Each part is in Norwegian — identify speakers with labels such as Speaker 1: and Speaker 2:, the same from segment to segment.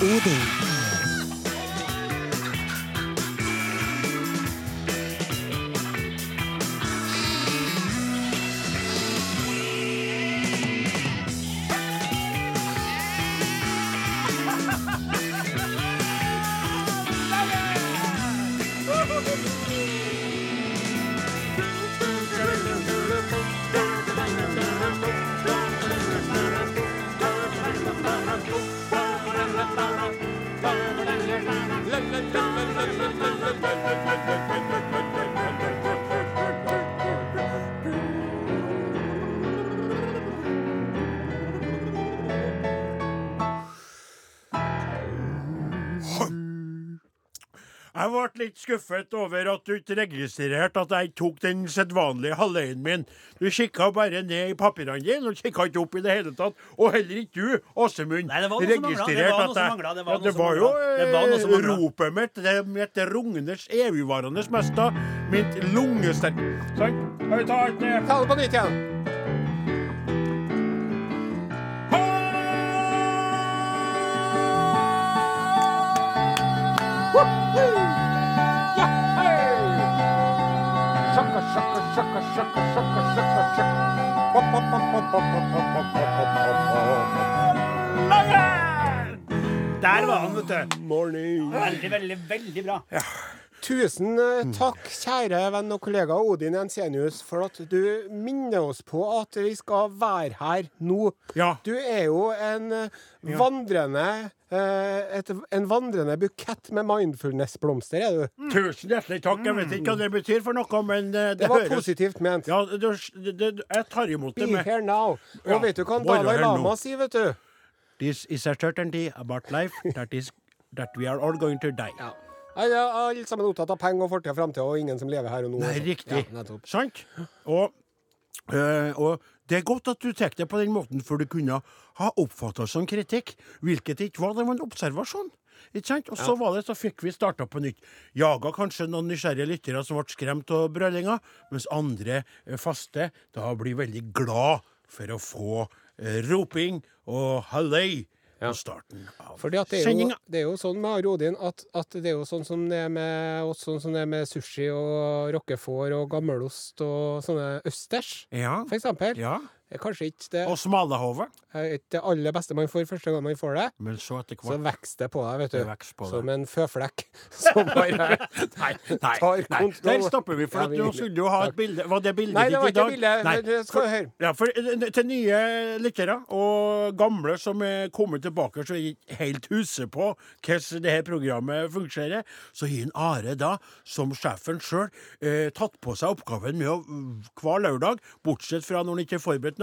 Speaker 1: UD.
Speaker 2: Jeg ble litt skuffet over at du ikke registrerte at jeg tok den sedvanlige halvøyen min. Du kikka bare ned i papirene dine, og kikka ikke opp i det hele tatt. Og heller ikke du, Åsemund,
Speaker 3: Nei, det var noe som manglet. Det var noe som manglet. Det
Speaker 2: ja,
Speaker 3: var noe
Speaker 2: det
Speaker 3: som
Speaker 2: var jo
Speaker 3: manglet. Det var noe som
Speaker 2: eh,
Speaker 3: manglet.
Speaker 2: ropet mitt, det mitt rungnes evigvarende mesta, mitt lungesterk... Sant? Skal vi ta et eh,
Speaker 4: Ta det på nytt igjen.
Speaker 3: Der var han, vet du.
Speaker 4: Morning.
Speaker 3: Veldig, veldig, veldig bra.
Speaker 4: Tusen eh, takk, kjære venn og kollega Odin Jensenius, for at du minner oss på at vi skal være her nå.
Speaker 2: Ja.
Speaker 4: Du er jo en eh, vandrende eh, et, En vandrende bukett med mindfulness-blomster, er du.
Speaker 2: Tusen hjertelig takk. Jeg vet ikke hva det betyr for noe, men eh,
Speaker 4: Mm.
Speaker 2: det,
Speaker 4: Det var
Speaker 2: høres
Speaker 4: positivt ment.
Speaker 2: Ja, du, det, det, jeg tar imot
Speaker 4: Be
Speaker 2: det med
Speaker 4: here now. Og
Speaker 2: Ja.
Speaker 4: vet du hva
Speaker 2: Bare
Speaker 4: Dalai
Speaker 2: her nå.
Speaker 4: Lama sier, vet du?
Speaker 2: This is a certainty about life that is that we are all going to die.
Speaker 4: Nei, det er Alle sammen opptatt av penger og fortid og framtid, og ingen som lever her og nå.
Speaker 2: Nei, riktig.
Speaker 4: Ja, nettopp.
Speaker 2: Sant? Og, eh, og det er godt at du tar det på den måten, for du kunne ha oppfatta som kritikk, hvilket det ikke var. Det var en observasjon. Ikke sant? Og så var det, så fikk vi starta på nytt. Jaga kanskje noen nysgjerrige lyttere som ble skremt av brølinga, mens andre eh, faste da blir veldig glad for å få eh, roping og halløy på starten av
Speaker 4: Fordi at det er, jo,
Speaker 2: sendinga.
Speaker 4: det er jo sånn med Are Odin at, at det er jo sånn som det er med, og sånn som det er med sushi og rockefòr og gammelost og sånne østers,
Speaker 2: Ja.
Speaker 4: for eksempel.
Speaker 2: ja.
Speaker 4: Det er kanskje ikke det,
Speaker 2: Og smalahove.
Speaker 4: er ikke det aller beste man får første gang man får det.
Speaker 2: Men så etter
Speaker 4: Så
Speaker 2: hvert
Speaker 4: vokser det på deg, vet
Speaker 2: Det
Speaker 4: du.
Speaker 2: vokser på
Speaker 4: Som en føflekk. Som bare
Speaker 2: Nei, nei,
Speaker 4: tar
Speaker 2: nei.
Speaker 4: kontroll.
Speaker 2: Der stopper vi, for
Speaker 4: Ja,
Speaker 2: at
Speaker 4: vi-
Speaker 2: nå skulle du ha et
Speaker 4: Takk.
Speaker 2: bilde. Var det bildet
Speaker 4: Nei, det
Speaker 2: ditt
Speaker 4: var
Speaker 2: i
Speaker 4: ikke
Speaker 2: dag?
Speaker 4: bildet.
Speaker 2: Nei.
Speaker 4: Men det skal
Speaker 2: For-
Speaker 4: du høre.
Speaker 2: Ja, for, eh, til nye lyttere og gamle som er kommet tilbake så jeg ikke helt husker på hvordan det her programmet fungerer, så har en Are da, som sjefen sjøl, eh, tatt på seg oppgaven med å mm, hver lørdag, bortsett fra når han ikke har forberedt noe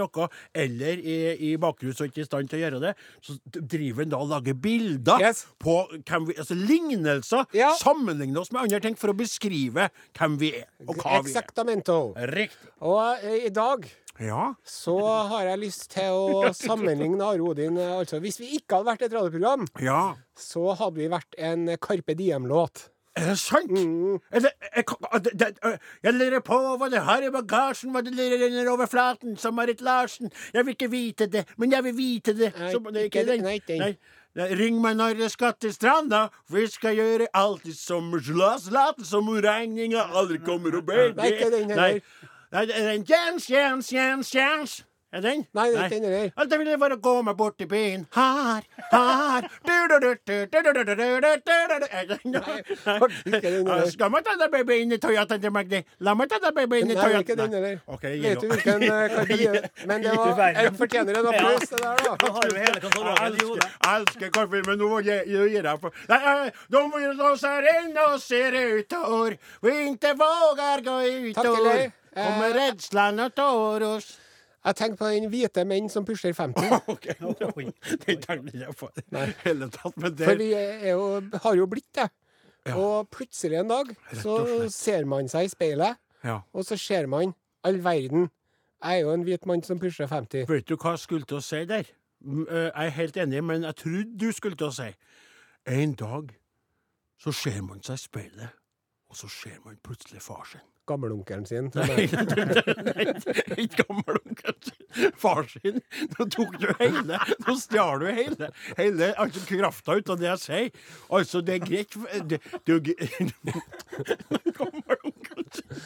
Speaker 2: eller er i bakrus og ikke i stand til å gjøre det, så driver han da og lager bilder
Speaker 4: Yes.
Speaker 2: på hvem vi, altså lignelser,
Speaker 4: Ja.
Speaker 2: sammenligne oss med andre ting for å beskrive hvem vi er, og hva
Speaker 4: Exactamento.
Speaker 2: vi er. Riktig.
Speaker 4: Og eh, i dag
Speaker 2: Ja.
Speaker 4: så har jeg lyst til å sammenligne Are Odin. eh, Altså, hvis vi ikke hadde vært et radioprogram,
Speaker 2: ja.
Speaker 4: så hadde vi vært en Carpe Diem-låt.
Speaker 2: Er det sant?
Speaker 4: Mm.
Speaker 2: Er det, er, er det, det, jeg lurer på hva det har i bagasjen, hva det lurer under overflaten, som Marit Larsen. Jeg vil ikke vite det, men jeg vil vite det.
Speaker 4: Nei,
Speaker 2: Så- det er
Speaker 4: ikke det, nei, ikke den.
Speaker 2: Nei. Nei, Ring meg når jeg skal til stranda, for jeg skal gjøre alltid som slas laten som regninga aldri kommer og ber.
Speaker 4: Nei, ikke den heller.
Speaker 2: Nei. Nei, det er en Jens, Jens, Jens, Jens. Er den?
Speaker 4: Nei, det er ikke den heller.
Speaker 2: Alt jeg ville var å gå meg bort til byen. Her, her
Speaker 4: heller.
Speaker 2: Skal man ta deg baby inn i Toyotaen til Magdi? La meg ta deg baby inn i
Speaker 4: Nei, det er ikke den
Speaker 2: Toyotaen.
Speaker 4: heller.
Speaker 2: Ok, gi
Speaker 4: Vet du
Speaker 2: nå.
Speaker 4: hvilken eh, Carpe Diem Men det
Speaker 3: Du
Speaker 4: var
Speaker 3: verden.
Speaker 4: en fortjener en applaus, det der,
Speaker 3: Nå
Speaker 4: da.
Speaker 3: har du hele
Speaker 2: Jeg
Speaker 3: katalogen i
Speaker 2: elsker,
Speaker 3: hodet.
Speaker 2: jeg elsker kaffe, men nå må jeg jeg gir jeg for Nei, jeg- De vil låse her inne og ser utover, vi ikke våger gå
Speaker 4: Takk til
Speaker 2: utover.
Speaker 4: deg.
Speaker 2: Kommer
Speaker 4: Eh,
Speaker 2: redselen og tar oss.
Speaker 4: Jeg tenker på den hvite menn som pusher 50.
Speaker 2: OK, nå- den tenkte jeg på i det hele tatt, men det
Speaker 4: For vi er jo, har jo blitt det.
Speaker 2: Ja.
Speaker 4: Og plutselig en dag så
Speaker 2: og slett.
Speaker 4: ser man seg i speilet,
Speaker 2: Ja.
Speaker 4: og så ser man all verden. Jeg er jo en hvit mann som pusher 50.
Speaker 2: Vet du hva jeg skulle til å si der? Mm, eh, Jeg er helt enig, men jeg trodde du skulle til å si En dag så ser man seg i speilet, Og så ser man plutselig far sin.
Speaker 4: Gammelonkelen sin. som
Speaker 2: Nei,
Speaker 4: er-
Speaker 2: ikke gammel onkel sin. Far sin. Nå tok du hele. Nå stjal du hele. Hele altså, krafta ut av det jeg sier. Altså, det er greit det, det, er jo gre- Gammel onkel sin.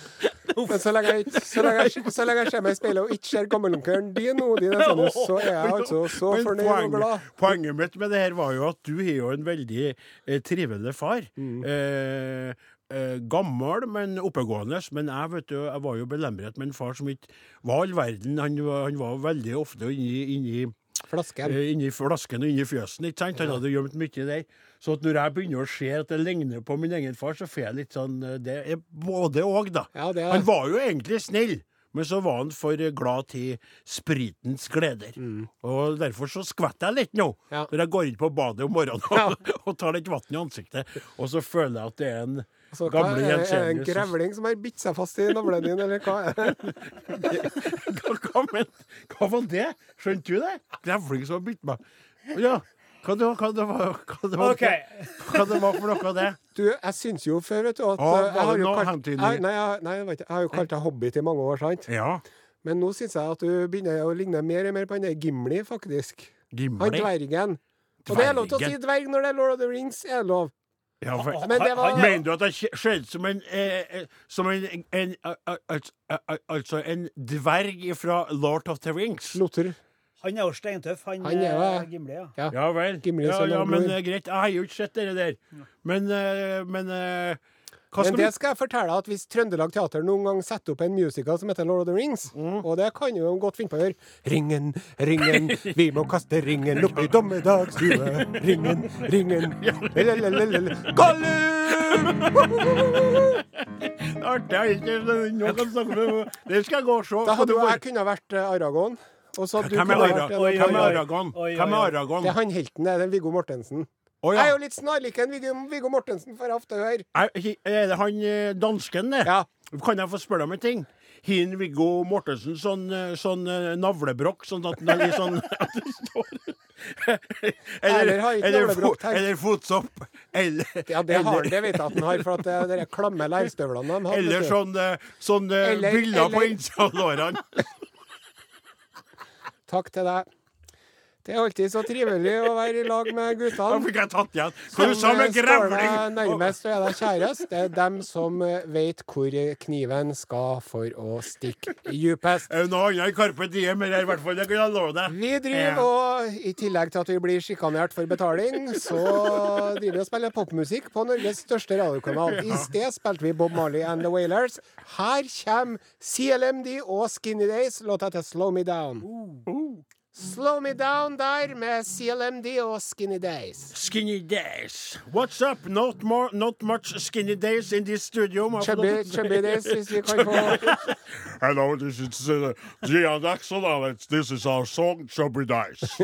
Speaker 4: Men så lenge jeg, ikke- så lenge jeg, så lenge jeg ser meg i speilet og ikke ser gammelonkelen din, Odin Ensenius, så er jeg altså så
Speaker 2: Men
Speaker 4: fornøyd og glad.
Speaker 2: Poenget mitt med det her var jo at du har jo en veldig eh, trivelig far.
Speaker 4: Mm.
Speaker 2: Eh, eh, gammel, men oppegående. Men jeg vet jo, jeg var jo belemret med en far som ikke var all verden. Han, var- han var veldig ofte inni, inni
Speaker 4: Flasken.
Speaker 2: Eh, Inni flasken og inni fjøsen. ikke sant? Han hadde gjemt mye der. Så at når jeg begynner å se at det ligner på min egen far, så får jeg litt sånn eh, Det er både òg, da.
Speaker 4: Ja, det er-
Speaker 2: Han var jo egentlig snill. Men så var han for eh, glad til spritens gleder. Og derfor så skvetter jeg litt nå,
Speaker 4: Mm. Ja.
Speaker 2: når jeg går inn på badet om morgenen og, og tar litt vann i ansiktet. Og så føler jeg at det er en
Speaker 4: Så hva er er
Speaker 2: gamle
Speaker 4: det en
Speaker 2: Jensenius som
Speaker 4: grevling som har bitt seg fast i navlen din, eller hva? er det?
Speaker 2: hva, hva, men, hva var det? Skjønte du det? Grevling som har bitt meg. Ja. Hva det var hva det var, hva det var,
Speaker 3: Ok.
Speaker 2: hva det var for noe av det?
Speaker 4: Du, jeg syns jo før, vet du, at eh,
Speaker 2: Å, var
Speaker 4: jeg har
Speaker 2: det
Speaker 4: jo
Speaker 2: noe
Speaker 4: kalt,
Speaker 2: hentydning?
Speaker 4: jeg, nei, jeg, nei, jeg vet ikke, jeg har jo kalt deg hobbit i mange år, sant?
Speaker 2: Ja.
Speaker 4: Men nå syns jeg at du begynner å ligne mer og mer på han der Gimli, faktisk. Han
Speaker 2: Gimli.
Speaker 4: dvergen. Og det er lov til å si
Speaker 2: Dvergen.
Speaker 4: dverg når det er Lord of the Rings, er det lov.
Speaker 2: Ja, for,
Speaker 4: Men det var
Speaker 2: mener du at det skje- skjedde som en, eh, eh, som en, en al- al- al- al- Altså en dverg fra Lord of the Rings?
Speaker 4: Lothar.
Speaker 3: Han er jo steintøff, han,
Speaker 4: Han er jo
Speaker 3: eh,
Speaker 4: det.
Speaker 3: Gimli. ja.
Speaker 4: Ja.
Speaker 2: Ja vel.
Speaker 4: Gimli
Speaker 2: Ja,
Speaker 4: som
Speaker 2: ja,
Speaker 4: Lord
Speaker 2: men
Speaker 4: Lord.
Speaker 2: eh, greit. Jeg har jo ikke sett det der. Men, eh, men eh, hva
Speaker 4: Men
Speaker 2: skal vi
Speaker 4: det skal jeg fortelle deg at hvis Trøndelag Teater noen gang setter opp en musical som heter Lord of the Rings,
Speaker 2: Mm.
Speaker 4: og det kan jo de godt finne på å gjøre Ringen, ringen, vi må kaste ringen opp i dommedagsstua. Ringen, ringen, lelelelele, Gollum!
Speaker 2: Artig. jeg er ikke- Nå kan vi snakke om det. Det skal jeg gå og se.
Speaker 4: Da
Speaker 2: Hva
Speaker 4: hadde
Speaker 2: det
Speaker 4: jo
Speaker 2: var-
Speaker 4: jeg kunnet vært eh, Aragon. Og så hadde du
Speaker 2: Hvem er
Speaker 4: kunnet vært
Speaker 2: Ara-
Speaker 4: en-
Speaker 2: hvem er
Speaker 3: oi, oi.
Speaker 2: Aragon?
Speaker 3: Oi, oi,
Speaker 2: Hvem er
Speaker 3: oi.
Speaker 2: Aragon?
Speaker 4: Det er han helten, det er den Viggo Mortensen.
Speaker 2: Å, ja.
Speaker 4: Jeg er jo litt snarlik en Viggo, Viggo Mortensen, får jeg ofte høre.
Speaker 2: Er, er det han eh, dansken, det?
Speaker 4: Ja.
Speaker 2: Kan jeg få spørre om en ting? Hin Viggo Mortensen sånn, eh, sånn eh, navlebrokk, sånn at den er litt sånn at det står
Speaker 4: Eller har ikke
Speaker 2: eller,
Speaker 4: navlebrokk,
Speaker 2: fo-
Speaker 4: tenk.
Speaker 2: eller fotsopp. Eller,
Speaker 4: Ja, det har han,
Speaker 2: eller,
Speaker 4: det vet jeg at han har, for at det er de klamme leirstøvlene de har. vet
Speaker 2: eller
Speaker 4: du.
Speaker 2: sånn, eh, sånn eh,
Speaker 4: Eller-
Speaker 2: byller på
Speaker 4: eller-
Speaker 2: innsida av lårene.
Speaker 4: Takk til deg. Det er alltid så trivelig å være i lag med
Speaker 2: Da
Speaker 4: guttene.
Speaker 2: fikk jeg tatt igjen. Hva du sa
Speaker 4: Som, eh,
Speaker 2: med grevling?
Speaker 4: Står deg nærmest og er deg kjærest. Det er dem som eh, vet hvor eh, kniven skal for å stikke dypest.
Speaker 2: Er det Eh, noe annet enn Carpe Diem her, i hvert fall? Det kan jeg love deg.
Speaker 4: Vi driver og, i tillegg til at vi blir sjikanert for betaling, så driver vi og spiller popmusikk på Norges største radiokanal. I sted spilte vi Bob Marley and The Wailers. Her kommer CLMD og Skinny Days. Låta heter Slow Me Down. Uh. Slow Me Down der med CLMD og Skinny Days.
Speaker 2: Skinny days. What's up? Not more, not much skinny days in this studio. må jeg få lov
Speaker 4: Chubby,
Speaker 2: til å si.
Speaker 4: chubby days, hvis vi kan få
Speaker 2: Hello, this is uh, Gian Axel Alex. This is our song, Chubby Dice.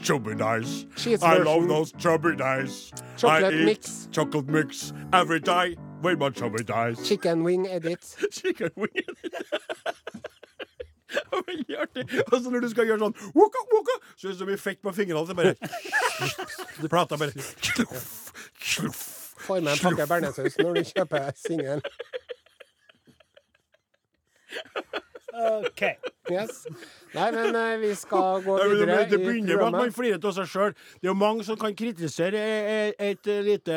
Speaker 2: chubby Dice.
Speaker 4: Cheese
Speaker 2: I
Speaker 4: version.
Speaker 2: love those Chubby Dice.
Speaker 4: Chocolate
Speaker 2: I eat
Speaker 4: mix.
Speaker 2: Chocolate mix every day with my Chubby Dice.
Speaker 4: chicken wing edit.
Speaker 2: Chicken wing. Veldig artig. Og så når du skal gjøre sånn woka, woka, så er det som effekt på fingrene. Det bare Plata bare Sluff, sluff.
Speaker 4: Får med en pakke bearnéssaus når du kjøper singel.
Speaker 3: OK.
Speaker 4: Yes. Nei, men eh, vi skal gå
Speaker 2: Nei, men
Speaker 4: videre
Speaker 2: det, det
Speaker 4: i
Speaker 2: begynner med at man
Speaker 4: programmet.
Speaker 2: flirer av seg sjøl. Det er jo mange som kan kritisere eh, eh, et eh, lite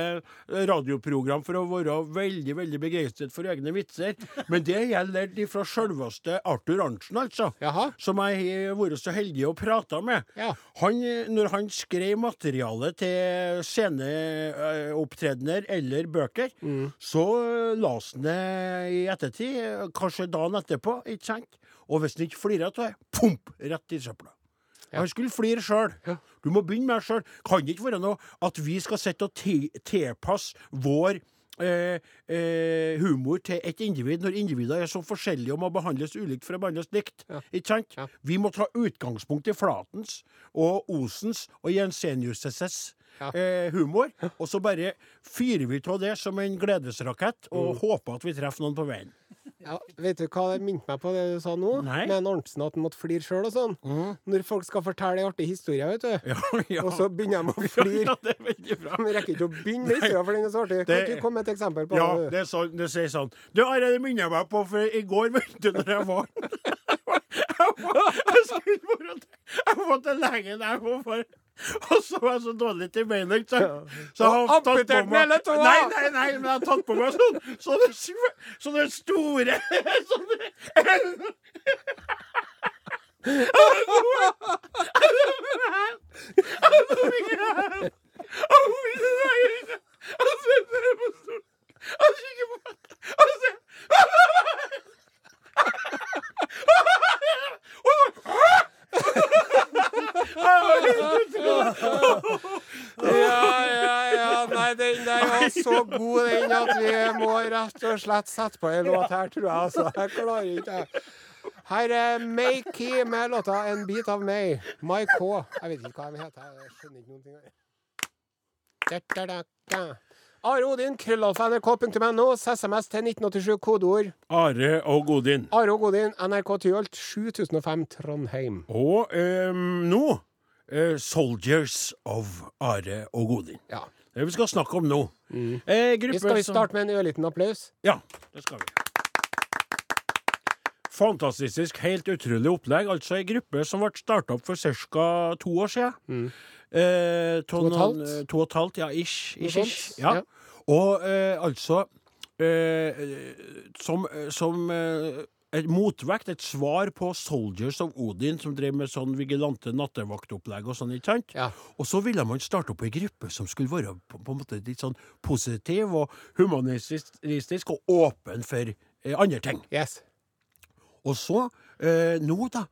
Speaker 2: radioprogram for å være veldig veldig begeistret for egne vitser, men det gjelder de fra sjølveste Arthur Arntzen, altså.
Speaker 4: Jaha.
Speaker 2: Som jeg har vært så heldig å prate med.
Speaker 4: Ja.
Speaker 2: Han, eh, når han skrev materiale til sceneopptredener eller bøker,
Speaker 4: Mm.
Speaker 2: så eh, las han det i ettertid, eh, kanskje dagen etterpå, ikke sant? Og hvis han ikke flirer av det, pump, rett i søpla. Han skulle flire sjøl. Du må begynne med deg sjøl. Kan det ikke være noe at vi skal sitte og ti- tilpasse vår eh, eh, humor til et individ, når individer er så forskjellige og må behandles ulikt for å behandles likt? Ikke sant? Vi må ta utgangspunkt i Flatens og Osens og Jensenius' eh, humor,
Speaker 4: Mm.
Speaker 2: og så bare fyrer vi av det som en gledesrakett og håper at vi treffer noen på veien.
Speaker 4: Ja, vet du hva det minte meg på, det du sa nå?
Speaker 2: Nei. Mm.
Speaker 4: Med en Arntzen at han måtte flire sjøl og sånn. Når folk skal fortelle ei artig historie, vet du.
Speaker 2: Ja, ja.
Speaker 4: Og så begynner de å
Speaker 2: Ja,
Speaker 4: flire.
Speaker 2: ja, det er veldig bra.
Speaker 4: De rekker ikke å begynne med historien, for den er så artig. Kan
Speaker 2: Det-
Speaker 4: ikke du komme med et eksempel på
Speaker 2: Ja,
Speaker 4: det? du?
Speaker 2: det er sånn, det sier sånn. Du har det minner jeg meg på, for i går, vet du, når jeg var Jeg, var, jeg skulle bare til- Jeg var til legen, jeg var bare og så var jeg så dårlig til beinet, så, så jeg har
Speaker 4: Og
Speaker 2: tatt på
Speaker 4: amputert den
Speaker 2: meg
Speaker 4: hele tåa!
Speaker 2: Nei, nei, nei, men jeg har tatt på meg sånn sånne, sv- sånne store Sånne
Speaker 4: Ja, ja, ja. Nei, den der var så god, den, at vi må rett og slett sette på en låt her, tror jeg. Altså, jeg klarer ikke det. Her er May Key med låta 'En bit av meg'. My K. Jeg vet ikke hva de heter. Jeg skjønner ikke noen ting. her. Da, da, da, da. Are Odin, krøllalfa nrk.no, SMS til 1987, kodeord
Speaker 2: Are og Godin.
Speaker 4: Are og Odin, NRK Tyholt, 7005 Trondheim.
Speaker 2: Og ehm, nå eh, Soldiers of Are og Godin.
Speaker 4: Ja.
Speaker 2: Det vi skal snakke om nå. Eh, gruppe
Speaker 4: Mm. Vi skal vi
Speaker 2: som-
Speaker 4: starte med en ørliten applaus?
Speaker 2: Ja, det skal vi. Fantastisk, helt utrolig opplegg. Altså ei gruppe som ble starta opp for ca. to år siden. Eh, to,
Speaker 4: Mm. og et
Speaker 2: noen-
Speaker 4: halvt?
Speaker 2: To og et halvt, ja. Ish. ish,
Speaker 4: sånt,
Speaker 2: ish. Ja.
Speaker 4: ja.
Speaker 2: Og eh, altså eh, eh, Som, som eh, et motvekt, et svar på Soldiers of Odin, som drev med sånn vigilante nattevaktopplegg og sånn, ikke sant?
Speaker 4: Ja.
Speaker 2: Og så ville man starte opp ei gruppe som skulle være på, på en måte litt sånn positiv og humanistisk og åpen for eh, andre ting.
Speaker 4: Yes.
Speaker 2: Og så, eh, nå da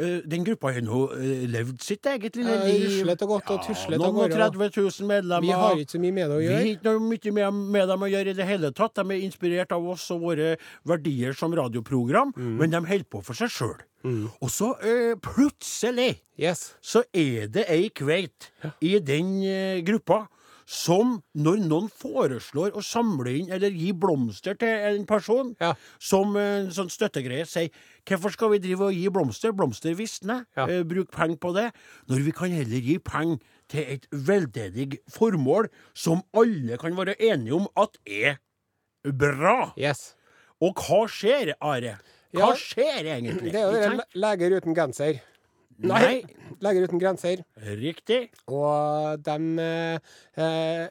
Speaker 2: eh, Den gruppa har nå eh, levd sitt eget lille
Speaker 4: Ja,
Speaker 2: liv.
Speaker 4: ruslet og gått og tuslet av
Speaker 2: noen og
Speaker 4: gårde, da.
Speaker 2: 30 000 medlemmer.
Speaker 4: Vi har ikke så mye med det å
Speaker 2: Vi har
Speaker 4: gjøre.
Speaker 2: ikke noe mye med, med dem å gjøre i det hele tatt. De er inspirert av oss og våre verdier som radioprogram,
Speaker 4: Mm.
Speaker 2: men de holder på for seg sjøl. Og så eh, plutselig
Speaker 4: Yes.
Speaker 2: så er det ei kveit i den eh, gruppa som, når noen foreslår å samle inn eller gi blomster til en person,
Speaker 4: Ja.
Speaker 2: som eh, en sånn støttegreie sier 'Hvorfor skal vi drive og gi blomster? Blomster visner.
Speaker 4: Ja.
Speaker 2: Eh, bruk penger på det.' Når vi kan heller gi penger til et veldedig formål som alle kan være enige om at er bra.
Speaker 4: Yes.
Speaker 2: Og hva skjer, Are? Hva
Speaker 4: Ja.
Speaker 2: skjer egentlig?
Speaker 4: Det er jo
Speaker 2: Ikke
Speaker 4: det
Speaker 2: sant?
Speaker 4: le- leger uten genser.
Speaker 2: Nei.
Speaker 4: Leger uten grenser.
Speaker 2: Riktig.
Speaker 4: Og dem eh, eh,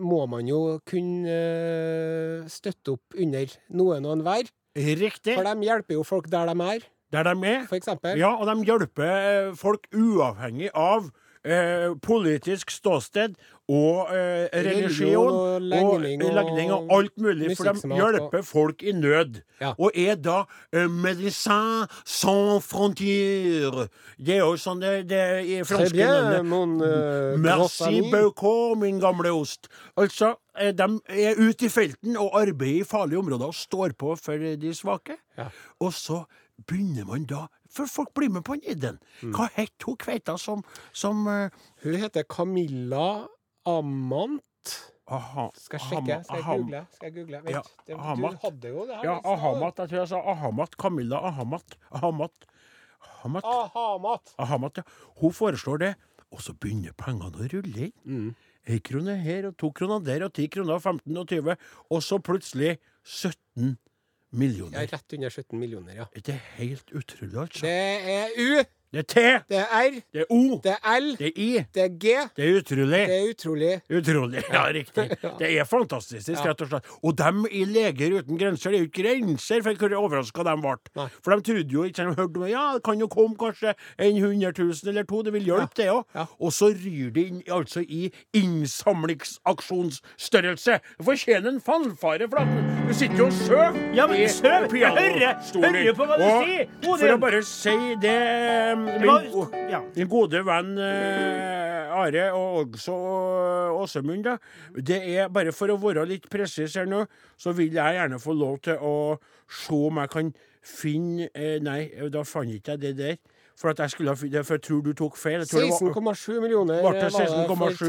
Speaker 4: må man jo kunne eh, støtte opp under noen og enhver.
Speaker 2: Riktig.
Speaker 4: For de hjelper jo folk der de er,
Speaker 2: Der de er.
Speaker 4: for eksempel.
Speaker 2: Ja, og de hjelper eh, folk uavhengig av eh, politisk ståsted og eh, religion
Speaker 4: og
Speaker 2: og
Speaker 4: legning og
Speaker 2: legning og alt mulig, for de
Speaker 4: musikksmak
Speaker 2: hjelper folk i nød.
Speaker 4: Ja.
Speaker 2: Og er da eh, médecin sans frontier. Det er jo sånn det, det er i
Speaker 4: Très
Speaker 2: franske
Speaker 4: bien,
Speaker 2: navnet.
Speaker 4: mon eh, gros
Speaker 2: Merci
Speaker 4: ami.
Speaker 2: beaucoup, min gamle ost. Altså, eh, de er ute i felten og arbeider i farlige områder og står på for eh, de svake.
Speaker 4: Ja.
Speaker 2: Og så begynner man da For folk blir med på den ideen.
Speaker 4: Mm.
Speaker 2: Hva het hun kveita som, som eh,
Speaker 4: Hun heter Camilla Amant.
Speaker 2: aha,
Speaker 4: Skal jeg sjekke?
Speaker 2: Ahama-
Speaker 4: Skal jeg
Speaker 2: Aham-
Speaker 4: google? Skal jeg google? Vent,
Speaker 2: Ja,
Speaker 4: det,
Speaker 2: Ahamat.
Speaker 4: du hadde jo det her.
Speaker 2: Ja,
Speaker 4: litt snart.
Speaker 2: Ahamat. Jeg tror jeg sa Ahamat. Camilla Ahamat. Ahamat. Ahamat.
Speaker 4: Ahamat.
Speaker 2: Ahamat, ja. Hun foreslår det, og så begynner pengene å rulle inn.
Speaker 4: Mm.
Speaker 2: Ei krone her og to kroner der og ti kroner og 15 og 20, og så plutselig 17
Speaker 4: Ja,
Speaker 2: millioner.
Speaker 4: rett under 17 millioner, ja.
Speaker 2: Det er helt utrolig, altså.
Speaker 4: Det er U,
Speaker 2: Det er T,
Speaker 4: det er R,
Speaker 2: det er O,
Speaker 4: det er L,
Speaker 2: det er I.
Speaker 4: det er G.
Speaker 2: Det er utrolig.
Speaker 4: Det er utrolig.
Speaker 2: Utrolig. Ja, riktig. Det er fantastisk, rett og slett. Og dem i Leger uten grenser, det er jo ikke grenser for hvor overraska de ble.
Speaker 4: Nei.
Speaker 2: For de trodde jo ikke De hørte om ja, det kan jo komme kanskje en 100 000 eller to, det vil hjelpe, det òg.
Speaker 4: Ja.
Speaker 2: Og så ryr det inn altså i innsamlingsaksjonsstørrelse. Det fortjener en fanfare, for at du sitter jo og søv.
Speaker 3: Ja, men
Speaker 2: i
Speaker 3: søv! Jeg
Speaker 2: piano-
Speaker 3: hører-
Speaker 2: stolen.
Speaker 3: hører på hva du
Speaker 2: og,
Speaker 3: sier, Odin.
Speaker 2: For å bare si det eh,
Speaker 3: Det var-
Speaker 2: min, o-
Speaker 3: ja.
Speaker 2: min gode venn eh, Are, og også eh, Åsemund, da. Det er, bare for å være litt presis her nå, så vil jeg gjerne få lov til å se om jeg kan finne eh, Nei, da fant ikke jeg det der. For at jeg skulle ha fin- det- for jeg tror du tok feil. Jeg tror det var-
Speaker 4: 16,7 millioner
Speaker 2: ble
Speaker 4: var
Speaker 2: det
Speaker 4: det for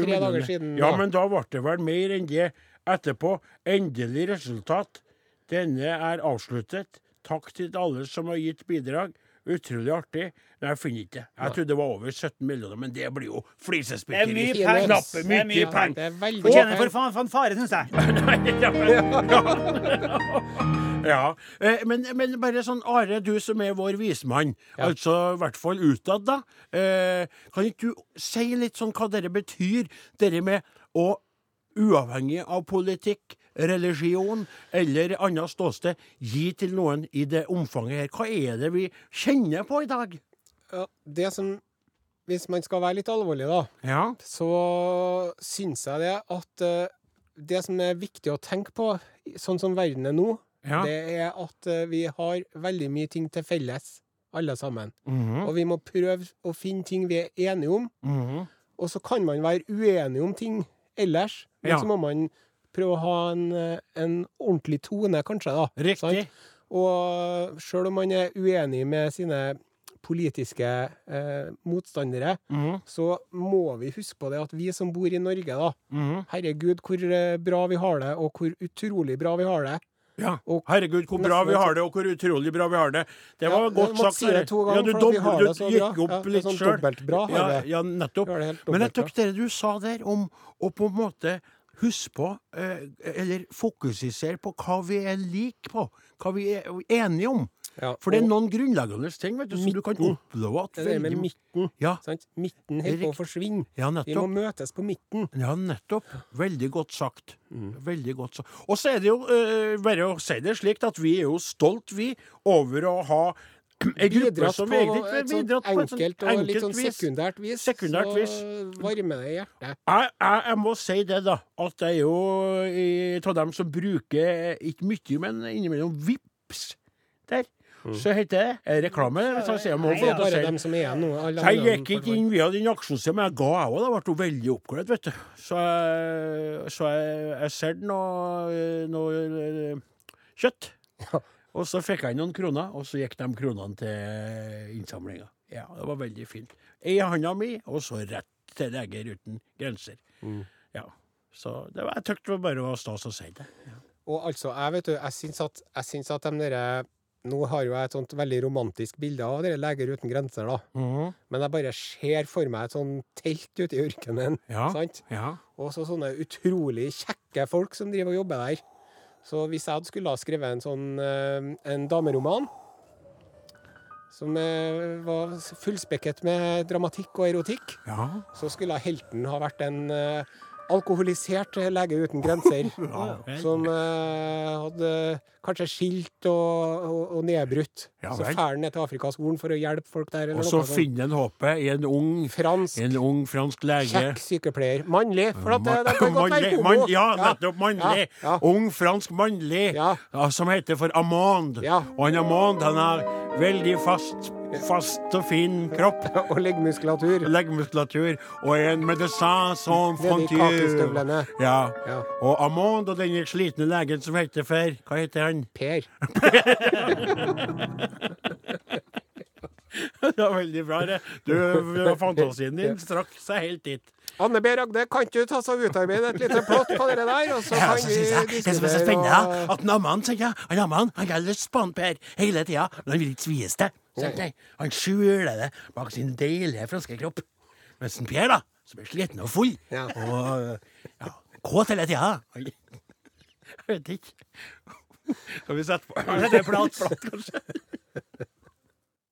Speaker 4: tre
Speaker 2: 16,7
Speaker 4: dager
Speaker 2: millioner.
Speaker 4: siden.
Speaker 2: Ja, men da ble det vel mer enn det etterpå. Endelig resultat Denne er avsluttet. Takk til alle som har gitt bidrag. Utrolig artig. Nei, jeg finner ikke det. Jeg trodde det var over 17 millioner, men det blir jo
Speaker 3: Det er mye
Speaker 2: flisespikkeri.
Speaker 3: penger.
Speaker 2: Knappe
Speaker 3: Det er
Speaker 2: mye
Speaker 3: mye
Speaker 2: penger.
Speaker 4: Det er veldig
Speaker 3: Fortjener for faen fanfare, syns jeg.
Speaker 2: Ja, eh, men, men bare sånn, Are, du som er vår vismann, altså i hvert fall utad, da. Eh, kan ikke du si litt sånn hva dette betyr, dette med å uavhengig av politikk, religion eller annet ståsted, gi til noen i det omfanget her? Hva er det vi kjenner på i dag?
Speaker 4: Ja, det som Hvis man skal være litt alvorlig, da,
Speaker 2: Ja,
Speaker 4: så syns jeg det at eh, det som er viktig å tenke på, sånn som verden er nå,
Speaker 2: ja.
Speaker 4: det er at eh, vi har veldig mye ting til felles, alle sammen.
Speaker 2: Mhm,
Speaker 4: Og vi må prøve å finne ting vi er enige om.
Speaker 2: mhm.
Speaker 4: Og så kan man være uenige om ting ellers, men
Speaker 2: Ja.
Speaker 4: så må man prøve å ha en, eh, en ordentlig tone, kanskje, da.
Speaker 2: Riktig.
Speaker 4: Sant? Og sjøl om man er uenig med sine politiske eh, motstandere,
Speaker 2: Mhm,
Speaker 4: så må vi huske på det at vi som bor i Norge, da
Speaker 2: mhm.
Speaker 4: Herregud, hvor eh, bra vi har det, og hvor utrolig bra vi har det.
Speaker 2: Ja.
Speaker 4: Og-
Speaker 2: Herregud, hvor bra vi har det, og hvor utrolig bra vi har det. Det var
Speaker 4: Ja,
Speaker 2: godt
Speaker 4: jeg måtte
Speaker 2: sagt.
Speaker 4: si det
Speaker 2: Are.
Speaker 4: to ganger,
Speaker 2: ja, du
Speaker 4: for at vi
Speaker 2: dobl-
Speaker 4: har
Speaker 2: du
Speaker 4: det så
Speaker 2: gikk
Speaker 4: bra.
Speaker 2: opp
Speaker 4: Ja, det er
Speaker 2: litt
Speaker 4: sånn
Speaker 2: sjøl.
Speaker 4: dobbeltbra har
Speaker 2: ja,
Speaker 4: vi.
Speaker 2: ja, nettopp.
Speaker 4: Vi har det helt
Speaker 2: Men jeg
Speaker 4: dobbeltbra.
Speaker 2: tok det du sa der om å på en måte huske på, eh, eller fokusere på, hva vi er like på. Hva vi er enige om.
Speaker 4: Ja,
Speaker 2: For det er
Speaker 4: og
Speaker 2: noen grunnleggende ting vet du, som du kan oppleve at
Speaker 4: det der med
Speaker 2: veldig-
Speaker 4: midten.
Speaker 2: Ja,
Speaker 4: Sant? Midten holder på å
Speaker 2: Riktig.
Speaker 4: forsvinne.
Speaker 2: ja,
Speaker 4: Vi må
Speaker 2: nettopp.
Speaker 4: møtes på midten.
Speaker 2: Ja, nettopp. Veldig godt sagt.
Speaker 4: Mm.
Speaker 2: Veldig godt sagt. Og så er det jo eh, bare å si det slik at vi er jo stolt, vi, over å ha en gruppe
Speaker 4: Bidratt
Speaker 2: som
Speaker 4: på
Speaker 2: egentlig
Speaker 4: et sånt
Speaker 2: bidratt på et sånt
Speaker 4: enkelt og litt
Speaker 2: enkelt
Speaker 4: sånn
Speaker 2: vis.
Speaker 4: sekundært vis.
Speaker 2: Sekundært
Speaker 4: Så varmer det i hjertet.
Speaker 2: Jeg, jeg, jeg må si det, da, at jeg er jo i- av dem som bruker ikke mye, men innimellom vips der. Så heter det reklame. Så jeg, sier jeg må
Speaker 3: Nei,
Speaker 2: få
Speaker 4: Det
Speaker 2: lov
Speaker 4: er
Speaker 2: til å
Speaker 4: Mm.
Speaker 2: si
Speaker 4: bare
Speaker 2: det.
Speaker 4: dem som er igjen nå. alle
Speaker 2: Så jeg
Speaker 4: andre
Speaker 2: gikk ikke inn via den aksjonsiden, men jeg ga jeg òg. Da ble hun veldig oppglødd, vet du. Så jeg, så jeg, jeg solgte noe, noe eh, kjøtt. Og så fikk jeg noen kroner, og så gikk de kronene til innsamlinga. Ja, det var veldig fint. Ei i handa mi, og så rett til Leger uten grenser. Ja. Så det var, jeg tykte det var bare å stas å si det.
Speaker 4: Og altså, jeg vet du, jeg syns at, jeg syns at de derre Nå har jo jeg et sånt veldig romantisk bilde av dere Leger uten grenser, da. Men jeg bare ser for meg et sånn telt ute i ørkenen.
Speaker 2: Ja.
Speaker 4: Sant?
Speaker 2: Ja.
Speaker 4: Og så sånne utrolig kjekke folk som driver og jobber der. Så hvis jeg hadde skulle ha skrevet en sånn eh, en dameroman som eh, var fullspekket med dramatikk og erotikk,
Speaker 2: ja.
Speaker 4: så skulle helten ha vært en eh, alkoholisert lege uten grenser.
Speaker 2: vel.
Speaker 4: som eh, hadde kanskje skilt og, og, og nedbrutt.
Speaker 2: Ja
Speaker 4: så
Speaker 2: vel.
Speaker 4: fær han ned til Afrikas Horn for å hjelpe folk der. eller
Speaker 2: Og så
Speaker 4: noe sånt.
Speaker 2: finner en håpet i en ung,
Speaker 4: Fransk,
Speaker 2: en ung fransk lege.
Speaker 4: kjekk sykepleier. Mannlig, for at det, det kan godt være
Speaker 2: Mannlig.
Speaker 4: homo.
Speaker 2: mann- ja, nettopp. Mannlig.
Speaker 4: Ja, ja.
Speaker 2: Ung fransk mannlig,
Speaker 4: Ja.
Speaker 2: ja, som heter for Amand.
Speaker 4: Ja.
Speaker 2: Og han Amand han har veldig fast, fast og fin kropp.
Speaker 4: Og leggmuskulatur.
Speaker 2: Leggmuskulatur og er en medisin som
Speaker 4: Nedi kakestøvlene.
Speaker 2: Ja.
Speaker 4: Ja.
Speaker 2: Og Amand og denne slitne legen som heter for Hva heter han?
Speaker 4: Per.
Speaker 2: det var veldig bra, det. Du, fantasien din strakk seg helt dit.
Speaker 4: Anne B. Ragde, kan ikke du ta så utarbeide et lite plott på det der, og så
Speaker 2: Ja,
Speaker 4: kan
Speaker 2: så
Speaker 4: vi
Speaker 2: synes jeg, det som er så
Speaker 4: diskutere
Speaker 2: spennende,
Speaker 4: og
Speaker 2: at Namman tenker jeg, han Namman han har lyst på han Per hele tida, men han vil ikke svies det. Så nei, Han skjuler det bak sin deilige franske kropp. Mens en Per, da, som er sliten og full
Speaker 4: Ja.
Speaker 2: og ja, kåt hele tida Han- Jeg vet ikke. Skal vi sette på Det er plat, plat, kanskje?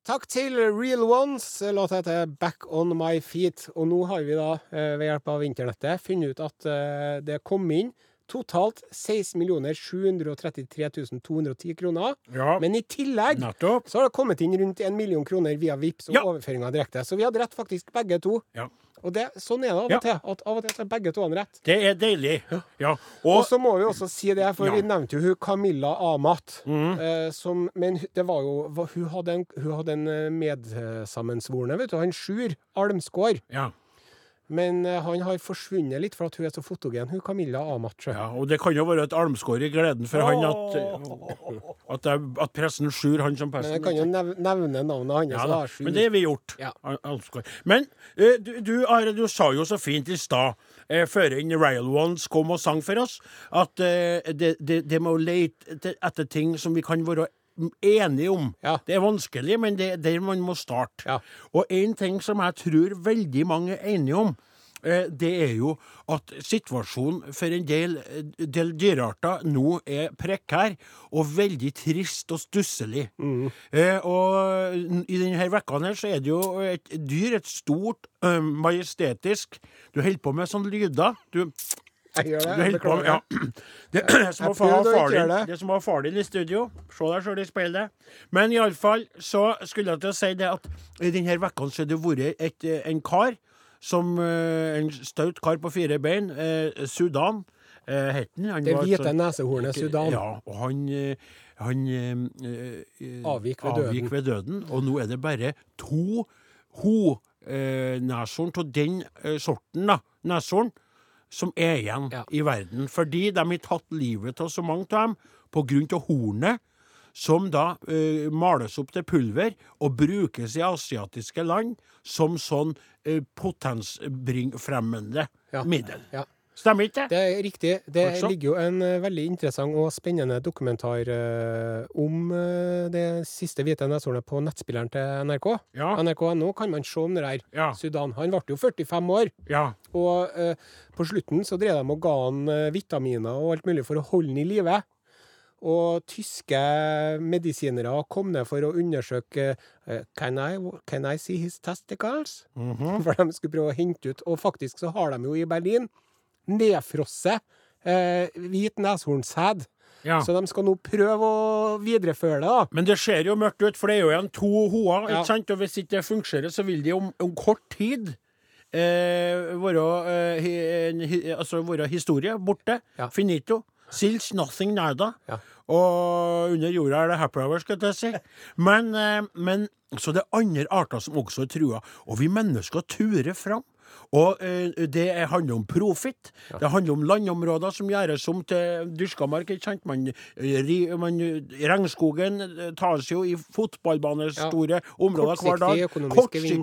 Speaker 4: Takk til Real Ones. Låta heter Back On My Feet. Og nå har vi da, eh, ved hjelp av internettet, funnet ut at eh, det kom inn totalt 16 733 210 kroner.
Speaker 2: Ja,
Speaker 4: Men i tillegg
Speaker 2: nettopp.
Speaker 4: så har det kommet inn rundt 1 million kroner via Vipps og
Speaker 2: Ja.
Speaker 4: overføringer direkte. Så vi hadde rett faktisk begge to.
Speaker 2: Ja.
Speaker 4: Og det, sånn er det av og
Speaker 2: Ja.
Speaker 4: til. At av og til så er begge to han rett.
Speaker 2: Det er deilig. Ja.
Speaker 4: Og så må vi også si det, for
Speaker 2: Ja. Mm.
Speaker 4: vi nevnte jo hun Camilla Amat. Eh, som, men hun- det var jo hva- Hun hadde en, hun hadde en eh, medsammensvorne, vet du. Han Sjur Almsgård.
Speaker 2: ja.
Speaker 4: Men eh, han har forsvunnet litt, for at hun er så fotogen, hun Camilla Amat.
Speaker 2: Ja, og det kan jo være et armskår i gleden for han at, at, det- at pressen skjur han som
Speaker 4: Men
Speaker 2: person.
Speaker 4: Eh, jeg kan jo nev nevne navnet hans.
Speaker 2: Ja
Speaker 4: så
Speaker 2: da,
Speaker 4: da, sju.
Speaker 2: men det har vi gjort.
Speaker 4: Ja.
Speaker 2: Al- Alvskog. Men eh, du, du, Are, du sa jo så fint i stad, eh, før inn Rail Ones kom og sang for oss, at eh, det, det, det med å lete etter- etter ting som vi kan være enige om,
Speaker 4: Ja.
Speaker 2: det er vanskelig, men det er der man må starte.
Speaker 4: Ja.
Speaker 2: Og en ting som jeg tror veldig mange er enige om, eh, det er jo at situasjonen for en del, eh, del dyrearter nå er prekær og veldig trist og stusselig. Eh, og n- i denne vekka her så er det jo et dyr, et stort, eh, majestetisk Du holder på med sånne lyder. Du,
Speaker 4: Jeg gjør det.
Speaker 2: du holder på med, ja.
Speaker 4: Beklager.
Speaker 2: Det er som å
Speaker 4: Jeg
Speaker 2: få ha
Speaker 4: prøvde å ikke
Speaker 2: far din,
Speaker 4: gjøre det.
Speaker 2: det er som å ha far din i studio. Se deg sjøl i speilet. Men iallfall så skulle jeg til å si det at i denne vekka så har det vært et, eh, en kar som eh, En staut kar på fire bein. eh, Sudan eh, het han. Han
Speaker 4: Det
Speaker 2: var
Speaker 4: hvite
Speaker 2: sånn-
Speaker 4: nesehornet Sudan.
Speaker 2: Ja, og han, eh, han eh, eh,
Speaker 4: Avgikk ved døden.
Speaker 2: avgikk ved døden. Og nå er det bare to ho-neshorn av den eh, sorten, da, neshorn, som er igjen
Speaker 4: Ja.
Speaker 2: i verden. Fordi de har tatt livet av så mange av dem på grunn av hornet. Som da eh, males opp til pulver og brukes i asiatiske land som sånn eh, potensbringfremmende
Speaker 4: Ja.
Speaker 2: middel.
Speaker 4: Ja.
Speaker 2: Stemmer ikke det?
Speaker 4: Det er riktig. Det
Speaker 2: Altså?
Speaker 4: ligger jo en eh, veldig interessant og spennende dokumentar eh, om eh, det siste hvite neshornet på nettspilleren til NRK.
Speaker 2: Ja.
Speaker 4: NRK.no kan man se om det der.
Speaker 2: Ja.
Speaker 4: Sudan. Han ble jo 45 år,
Speaker 2: Ja.
Speaker 4: og eh, på slutten så drev de og ga han eh, vitaminer og alt mulig for å holde han i live. Og tyske medisinere kom ned for å undersøke eh, can, I, can I see his testicles? For de skulle prøve å hente ut. Og faktisk så har de jo i Berlin nedfrosset eh, hvit neshornsæd.
Speaker 2: ja.
Speaker 4: Så de skal nå prøve å videreføre det, da.
Speaker 2: Men det ser jo mørkt ut, for det er jo igjen to hoer.
Speaker 4: Ja.
Speaker 2: ikke sant? Og hvis ikke det fungerer, så vil de om, om kort tid eh, være, eh, hi, en hi, altså være historie borte.
Speaker 4: Ja.
Speaker 2: Finito. Sils nothing nada.
Speaker 4: Ja.
Speaker 2: Og under jorda er det happy hour, skal jeg si. Men, eh, men så det er andre arter som også er trua. Og vi mennesker turer fram. Og eh, det er- handler om profitt. Det handler om landområder som gjøres om til dyrka mark. ikke sant? Man, eh, ri- man, regnskogen eh, tas jo i fotballbanestore områder hver
Speaker 4: Kortsiktig
Speaker 2: dag.
Speaker 4: økonomisk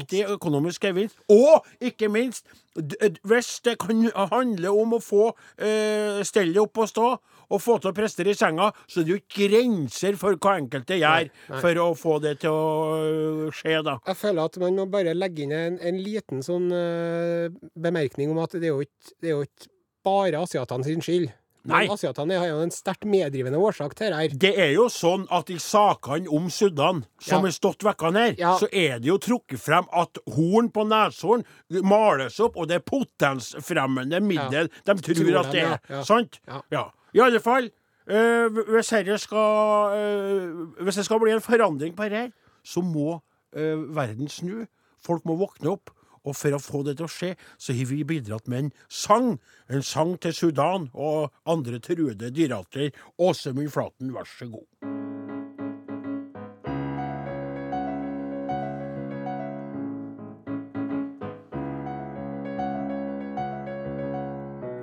Speaker 2: Kortsiktig økonomisk gevinst. Og ikke minst, d- d- hvis det kan handle om å få eh, stellet opp og stå, og få til å prester i senga, så er det jo ikke grenser for hva enkelte gjør for å få det til å øh, skje, da.
Speaker 4: Jeg føler at man må bare legge inn en, en liten sånn eh, bemerkning om at det er jo ikke, det er jo ikke bare asiatene sin skyld.
Speaker 2: Nei.
Speaker 4: Men asiatene har jo en sterkt meddrivende årsak til dette. her.
Speaker 2: Det er jo sånn at i sakene om Sudan, som
Speaker 4: Ja.
Speaker 2: er stått vekkene her,
Speaker 4: Ja.
Speaker 2: så er det jo trukket frem at horn på neshorn males opp, og det er potensfremmende middel de tror,
Speaker 4: Tror de,
Speaker 2: at det er.
Speaker 4: ja. Ja.
Speaker 2: Sant?
Speaker 4: Ja.
Speaker 2: I alle fall, eh, hvis, herre skal, eh, hvis det skal bli en forandring på dette, her, så må eh, verden snu. Folk må våkne opp. Og for å få det til å skje, så har vi bidratt med en sang. En sang til Sudan og andre truede dyrearter. Åsemund Flaten, vær så god.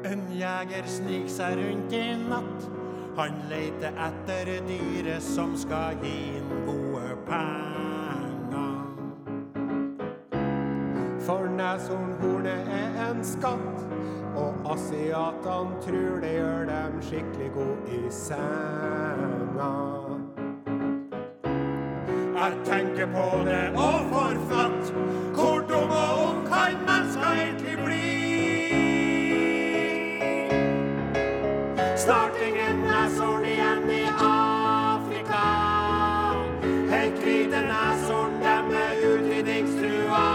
Speaker 2: En jeger snik seg rundt i natt. Han leter etter dyret som skal gi en gode penger.
Speaker 4: For neshornhornet er en skatt, og asiatene tror det gjør dem skikkelig god i senga.
Speaker 2: Jeg tenker på det og får fnatt. Hvor dum og ung kan mennesker egentlig bli? Snart ingen neshorn igjen i Afrika. Helt hvite neshorn, dem er utrydningstrua.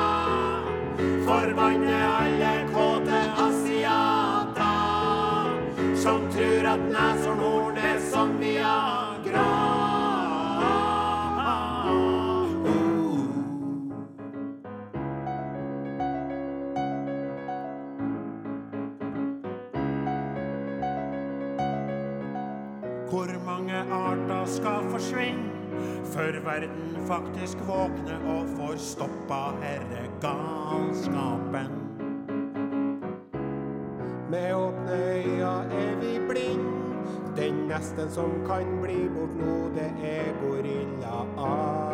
Speaker 2: Forbanne alle kåte asiater som tror at neshornhorn er som Viagra. Uh. Hvor mange arter skal forsvinne før verden faktisk våkner og får stoppa herre galskapen?
Speaker 4: Neste som kan bli bort nå, det er gorillaapen.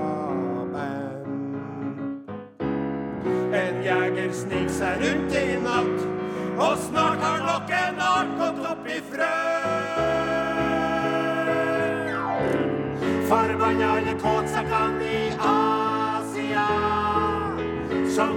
Speaker 2: En jeger snik seg rundt i natt, og snart har nok en art gått opp i frø. Forbanna alle kåtsekkene i Asia, som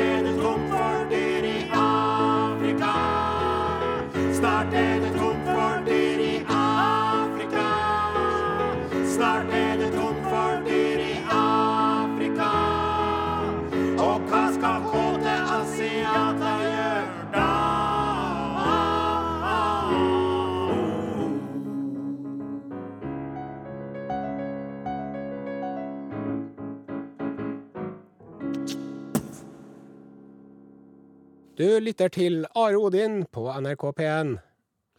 Speaker 2: er det tomt for dyr i Afrika. Snart er det tomt for dyr i Afrika. Snart er det tomt for dyr i Afrika. Og hva skal kåte asiater gjøre da?
Speaker 4: Du lytter til Are Odin på NRK P1.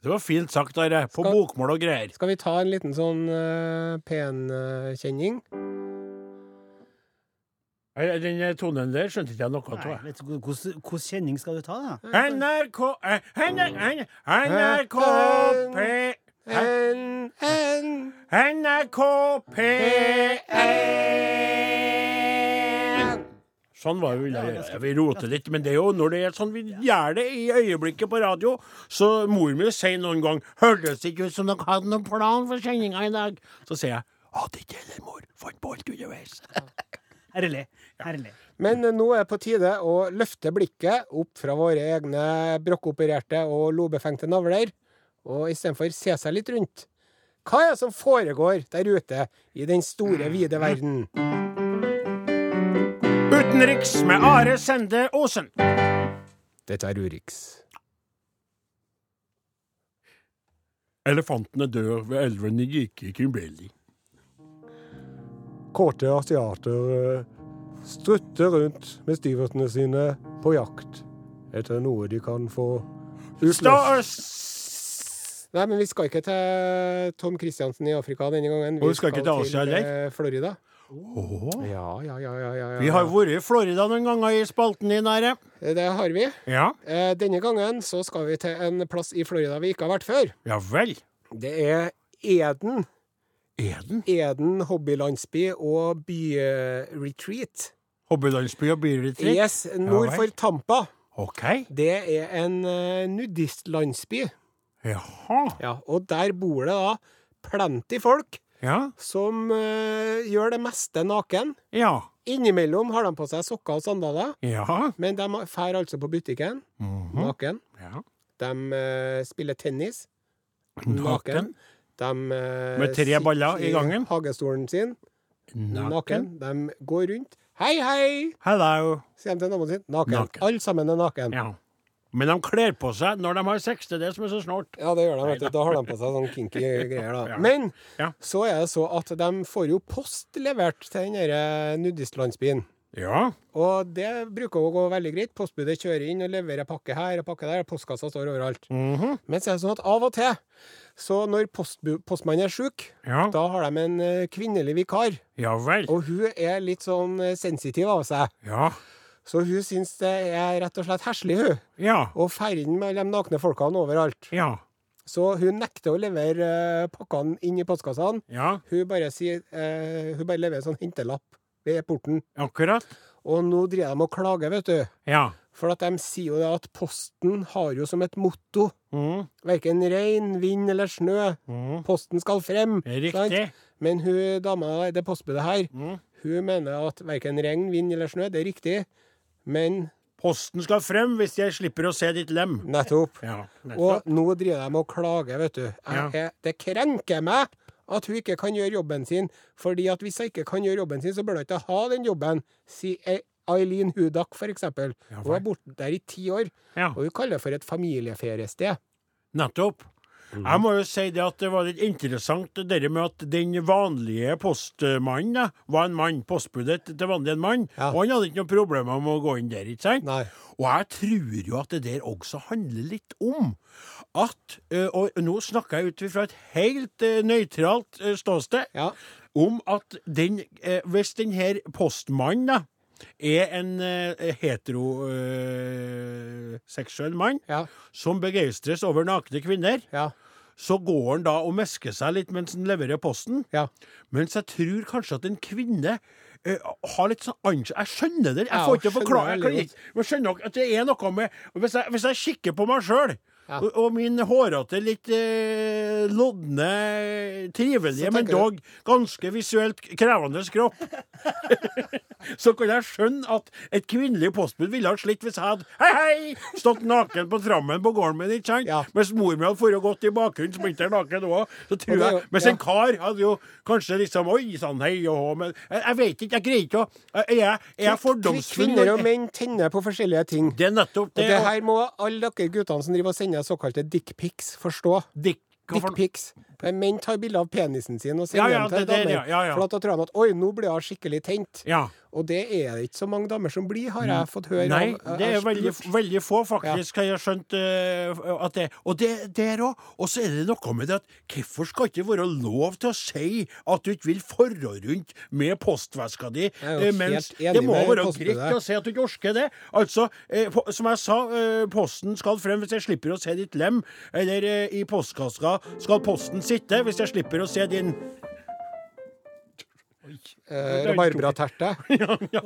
Speaker 2: Det var fint sagt, Are. På
Speaker 4: Skal-
Speaker 2: bokmål og greier.
Speaker 4: Skal vi ta en liten sånn eh, P1-kjenning?
Speaker 2: Den tonen der skjønte ikke jeg noe av.
Speaker 3: Vet du, hvordan- Hvordan kjenning skal du ta, da?
Speaker 2: NRK eh, NR- NRK P
Speaker 4: En, en
Speaker 2: NRK P1 Sånn var vi ville gjøre. Vi roter litt, men det er jo når det er sånn vi gjør det i øyeblikket på radio, så mor mi sier noen gang 'Hørtes ikke ut som dere hadde noen plan for sendinga i dag.' Så sier jeg 'Hadde ikke heller, mor. Fant på alt underveis'.
Speaker 3: Herlig. Herlig.
Speaker 4: Men nå er det på tide å løfte blikket opp fra våre egne brokkopererte og lobefengte navler, og istedenfor se seg litt rundt. Hva er det som foregår der ute i den store, vide verden?
Speaker 2: Utenriks med Are Sende Osen.
Speaker 4: Dette er Urix.
Speaker 2: Elefanten er død ved elven Nijiki Kimbeli.
Speaker 4: Kåte asiater eh, strutter rundt med stivertene sine på jakt etter noe de kan få Nei, men vi skal ikke til Tom Christiansen i Afrika denne gangen.
Speaker 2: Og vi skal ikke til Asia heller?
Speaker 4: eh, Florida.
Speaker 2: Åh.
Speaker 4: Ja, ja, ja, ja, ja, ja.
Speaker 2: Vi har vært i Florida noen ganger i spalten din, Are.
Speaker 4: Det har vi.
Speaker 2: Ja.
Speaker 4: Eh, Denne gangen så skal vi til en plass i Florida vi ikke har vært før.
Speaker 2: Ja vel.
Speaker 4: Det er Eden.
Speaker 2: Eden.
Speaker 4: Eden hobbylandsby og byretreat.
Speaker 2: Hobbylandsby og byretreat.
Speaker 4: Yes, nord
Speaker 2: Ja
Speaker 4: for
Speaker 2: vel.
Speaker 4: Tampa.
Speaker 2: OK.
Speaker 4: Det er en eh, nudistlandsby.
Speaker 2: Jaha.
Speaker 4: Ja, og der bor det da plenty folk
Speaker 2: Ja.
Speaker 4: som eh, gjør det meste naken.
Speaker 2: Ja.
Speaker 4: Innimellom har de på seg sokker og sandaler,
Speaker 2: Ja.
Speaker 4: men de drar altså på butikken
Speaker 2: Mhm.
Speaker 4: naken.
Speaker 2: ja.
Speaker 4: De eh, spiller tennis
Speaker 2: Naken.
Speaker 4: naken. De eh,
Speaker 2: Med tre
Speaker 4: sitter
Speaker 2: baller i gangen.
Speaker 4: hagestolen sin naken.
Speaker 2: Naken.
Speaker 4: De går rundt. Hei, hei!
Speaker 2: Hello.
Speaker 4: sier de til naboen sin. Naken.
Speaker 2: Naken.
Speaker 4: Alle sammen er naken. Ja.
Speaker 2: Ja. Men de kler på seg når de har sex. Det er det som er så snålt.
Speaker 4: det gjør de. vet du. Da har de på seg sånn kinky greier, da.
Speaker 2: Ja.
Speaker 4: Men
Speaker 2: Ja.
Speaker 4: så er det så at de får jo post levert til den derre nudistlandsbyen.
Speaker 2: Ja.
Speaker 4: Og det bruker å gå veldig greit. Postbudet kjører inn og leverer pakke her og pakke der. Postkassa står overalt.
Speaker 2: Mhm.
Speaker 4: Men så er det sånn at av og til, så når postbu postmannen er sjuk,
Speaker 2: Ja.
Speaker 4: da har de en eh, kvinnelig vikar.
Speaker 2: Ja vel.
Speaker 4: Og hun er litt sånn eh, sensitiv av seg.
Speaker 2: Ja.
Speaker 4: Så hun syns det er rett og slett heslig, hun,
Speaker 2: Ja.
Speaker 4: å ferde inn med de nakne folkene overalt.
Speaker 2: Ja.
Speaker 4: Så hun nekter å levere eh, pakkene inn i postkassene.
Speaker 2: Ja.
Speaker 4: Hun bare, sier, eh, hun bare leverer en sånn hentelapp ved porten.
Speaker 2: Akkurat.
Speaker 4: Og nå driver de og klager, vet du.
Speaker 2: Ja.
Speaker 4: For at de sier jo det at Posten har jo som et motto
Speaker 2: Mhm.
Speaker 4: verken regn, vind eller snø.
Speaker 2: Mhm.
Speaker 4: Posten skal frem. sant?
Speaker 2: Riktig.
Speaker 4: Men hun dama i det postbudet her,
Speaker 2: Mhm.
Speaker 4: hun mener at verken regn, vind eller snø, det er riktig. Men
Speaker 2: Posten skal frem hvis jeg slipper å se ditt lem.
Speaker 4: nettopp.
Speaker 2: Ja, nettopp.
Speaker 4: Og nå driver de og klager, vet du. Jeg,
Speaker 2: Ja.
Speaker 4: jeg, det krenker meg at hun ikke kan gjøre jobben sin. fordi at hvis hun ikke kan gjøre jobben sin, så bør hun ikke ha den jobben, sier Eileen Hudak, for eksempel.
Speaker 2: Ja,
Speaker 4: Hun
Speaker 2: vel.
Speaker 4: er borte der i ti år,
Speaker 2: Ja,
Speaker 4: og hun kaller det for et familieferiested.
Speaker 2: nettopp.
Speaker 4: Mhm.
Speaker 2: Jeg må jo si det at det var litt interessant det der med at den vanlige postmannen da, var en mann. Postbudet til vanlig en mann.
Speaker 4: Ja.
Speaker 2: Og han hadde ikke noen problemer med å gå inn der, ikke sant?
Speaker 4: Nei.
Speaker 2: Og jeg tror jo at det der også handler litt om at eh, Og nå snakker jeg ut fra et helt eh, nøytralt eh, ståsted.
Speaker 4: Ja.
Speaker 2: om at den, eh, hvis den her postmannen da, er en eh, heteroseksuell mann
Speaker 4: Ja.
Speaker 2: som begeistres over nakne kvinner,
Speaker 4: Ja.
Speaker 2: så går han da og mesker seg litt mens han leverer posten.
Speaker 4: Ja.
Speaker 2: Mens jeg tror kanskje at en kvinne eh, har litt sånn ans- Jeg skjønner det. Jeg
Speaker 4: Ja,
Speaker 2: får ikke
Speaker 4: skjønner
Speaker 2: forklare. Jeg
Speaker 4: veldig
Speaker 2: kan ikke, men skjønner dere at det er noe med Hvis jeg, hvis jeg kikker på meg sjøl,
Speaker 4: Ja.
Speaker 2: og, og min hårete, litt eh, lodne, trivelige,
Speaker 4: Så
Speaker 2: men
Speaker 4: tenker
Speaker 2: dog ganske visuelt krevende kropp, så kan jeg skjønne at et kvinnelig postbud ville ha slitt hvis jeg hadde hei, hei, stått naken på trammen på gården min, ikke sant?
Speaker 4: Ja.
Speaker 2: Mens mor mi hadde forrige gått i bakgrunnen, splinter naken òg. Så
Speaker 4: Og
Speaker 2: tror
Speaker 4: det er
Speaker 2: jeg
Speaker 4: jo-
Speaker 2: Mens
Speaker 4: ja.
Speaker 2: en kar hadde jo kanskje liksom Oi sann, hei og hå, men jeg, jeg vet ikke, jeg greier ikke å jeg- Er jeg, er jeg fordomsfull?
Speaker 4: Kvinner og menn tenner på forskjellige ting.
Speaker 2: Det er nettopp
Speaker 4: Og
Speaker 2: det.
Speaker 4: det
Speaker 2: og
Speaker 4: her må alle dere guttene som driver og sender såkalte dickpics, forstå.
Speaker 2: Dick, hva for-
Speaker 4: Dickpics. Eh, Menn tar bilder av penisen sin og
Speaker 2: Ja,
Speaker 4: sender
Speaker 2: ja,
Speaker 4: dem til
Speaker 2: det der,
Speaker 4: damer.
Speaker 2: ja, ja, ja.
Speaker 4: For at da tror han at Oi, nå ble hun skikkelig tent.
Speaker 2: ja.
Speaker 4: Og det er det ikke så mange damer som blir, har jeg fått høre.
Speaker 2: Nei,
Speaker 4: av- eh,
Speaker 2: det er
Speaker 4: jeg har
Speaker 2: veldig,
Speaker 4: spurt.
Speaker 2: veldig få, faktisk, har jeg skjønt. eh, at det, og det der òg. Og så er det noe med det at hvorfor skal ikke være lov til å si at du ikke vil fare rundt med postveska di?
Speaker 4: er jo
Speaker 2: eh,
Speaker 4: helt
Speaker 2: mens
Speaker 4: enig
Speaker 2: det må
Speaker 4: med
Speaker 2: være
Speaker 4: postbudet.
Speaker 2: greit å si at du ikke orker det. Altså, eh, po som jeg sa, eh, posten skal frem hvis jeg slipper å se ditt lem. Eller eh, i postkassa skal posten sitte hvis jeg slipper å se din
Speaker 4: Eh, Rabarbraterte.
Speaker 2: ja, ja.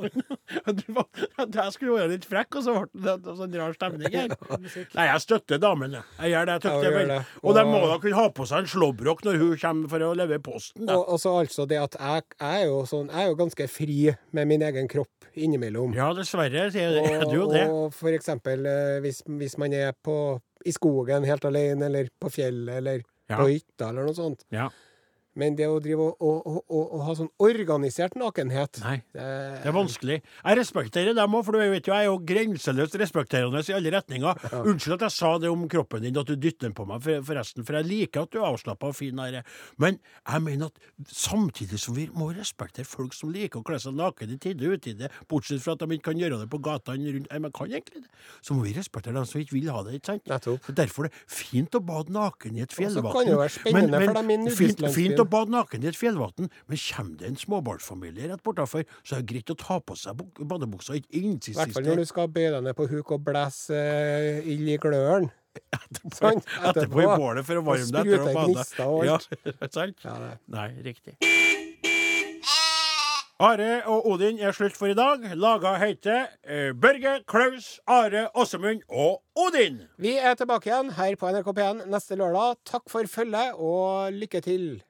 Speaker 2: Du var, at jeg skulle være litt frekk, og så ble det en sånn rar stemning her. Nei, jeg støtter damene. Jeg gjør det. jeg
Speaker 4: Ja,
Speaker 2: tøfter
Speaker 4: du gjør
Speaker 2: vel.
Speaker 4: det.
Speaker 2: Og de må
Speaker 4: Og-
Speaker 2: da kunne ha på seg en slåbrok når hun kommer for å levere posten. Da.
Speaker 4: Og og så altså det at jeg, jeg, er jo sånn, jeg er jo ganske fri med min egen kropp innimellom.
Speaker 2: Ja, dessverre så er det- er
Speaker 4: Og,
Speaker 2: det jo det.
Speaker 4: og for eksempel eh, hvis, hvis man er på, i skogen helt alene, eller på fjellet, eller
Speaker 2: Ja.
Speaker 4: på hytta, eller noe sånt.
Speaker 2: Ja.
Speaker 4: Men det å drive og, og, og, og ha sånn organisert nakenhet
Speaker 2: Nei.
Speaker 4: det-
Speaker 2: Det er vanskelig. Jeg respekterer dem òg, for du vet jo, jeg er jo grenseløst respekterende i alle retninger. Unnskyld at jeg sa det om kroppen din, at du dytter den på meg, for- forresten. For jeg liker at du er avslappa og fin. Are. Men jeg mener at samtidig som vi må respektere folk som liker å kle seg naken i tide og utide, bortsett fra at de ikke kan gjøre det på gatene rundt Nei, men kan egentlig det. Så må vi respektere dem som ikke vil ha det, ikke sant?
Speaker 4: Nettopp.
Speaker 2: Så Derfor er det fint å bade naken i et
Speaker 4: så
Speaker 2: fjellvatn.
Speaker 4: kan det jo være spennende for dem i
Speaker 2: fint,
Speaker 4: nudistlandsbyen.
Speaker 2: fint å bade naken i et fjellvann, men kommer det en småbarnsfamilie rett bortafor, så er det greit å ta på seg buk- badebuksa.
Speaker 4: I hvert fall
Speaker 2: Ikke
Speaker 4: når
Speaker 2: innsidsiste
Speaker 4: du skal bøye deg ned på huk og blæse eh, ild i gløren.
Speaker 2: etterpå,
Speaker 4: sant,
Speaker 2: etterpå i
Speaker 4: etterpå.
Speaker 2: bålet for å
Speaker 4: Og
Speaker 2: varme deg etter å
Speaker 4: sprute
Speaker 2: ha badet.
Speaker 4: gnister og alt.
Speaker 2: Ja, sant?
Speaker 4: Ja, det.
Speaker 2: Nei, riktig. Are og Odin er slutt for i dag. Laga heter eh, Børge, Klaus, Are, Åsemund og Odin.
Speaker 4: Vi er tilbake igjen her på NRK P1 neste lørdag. Takk for følget, og lykke til.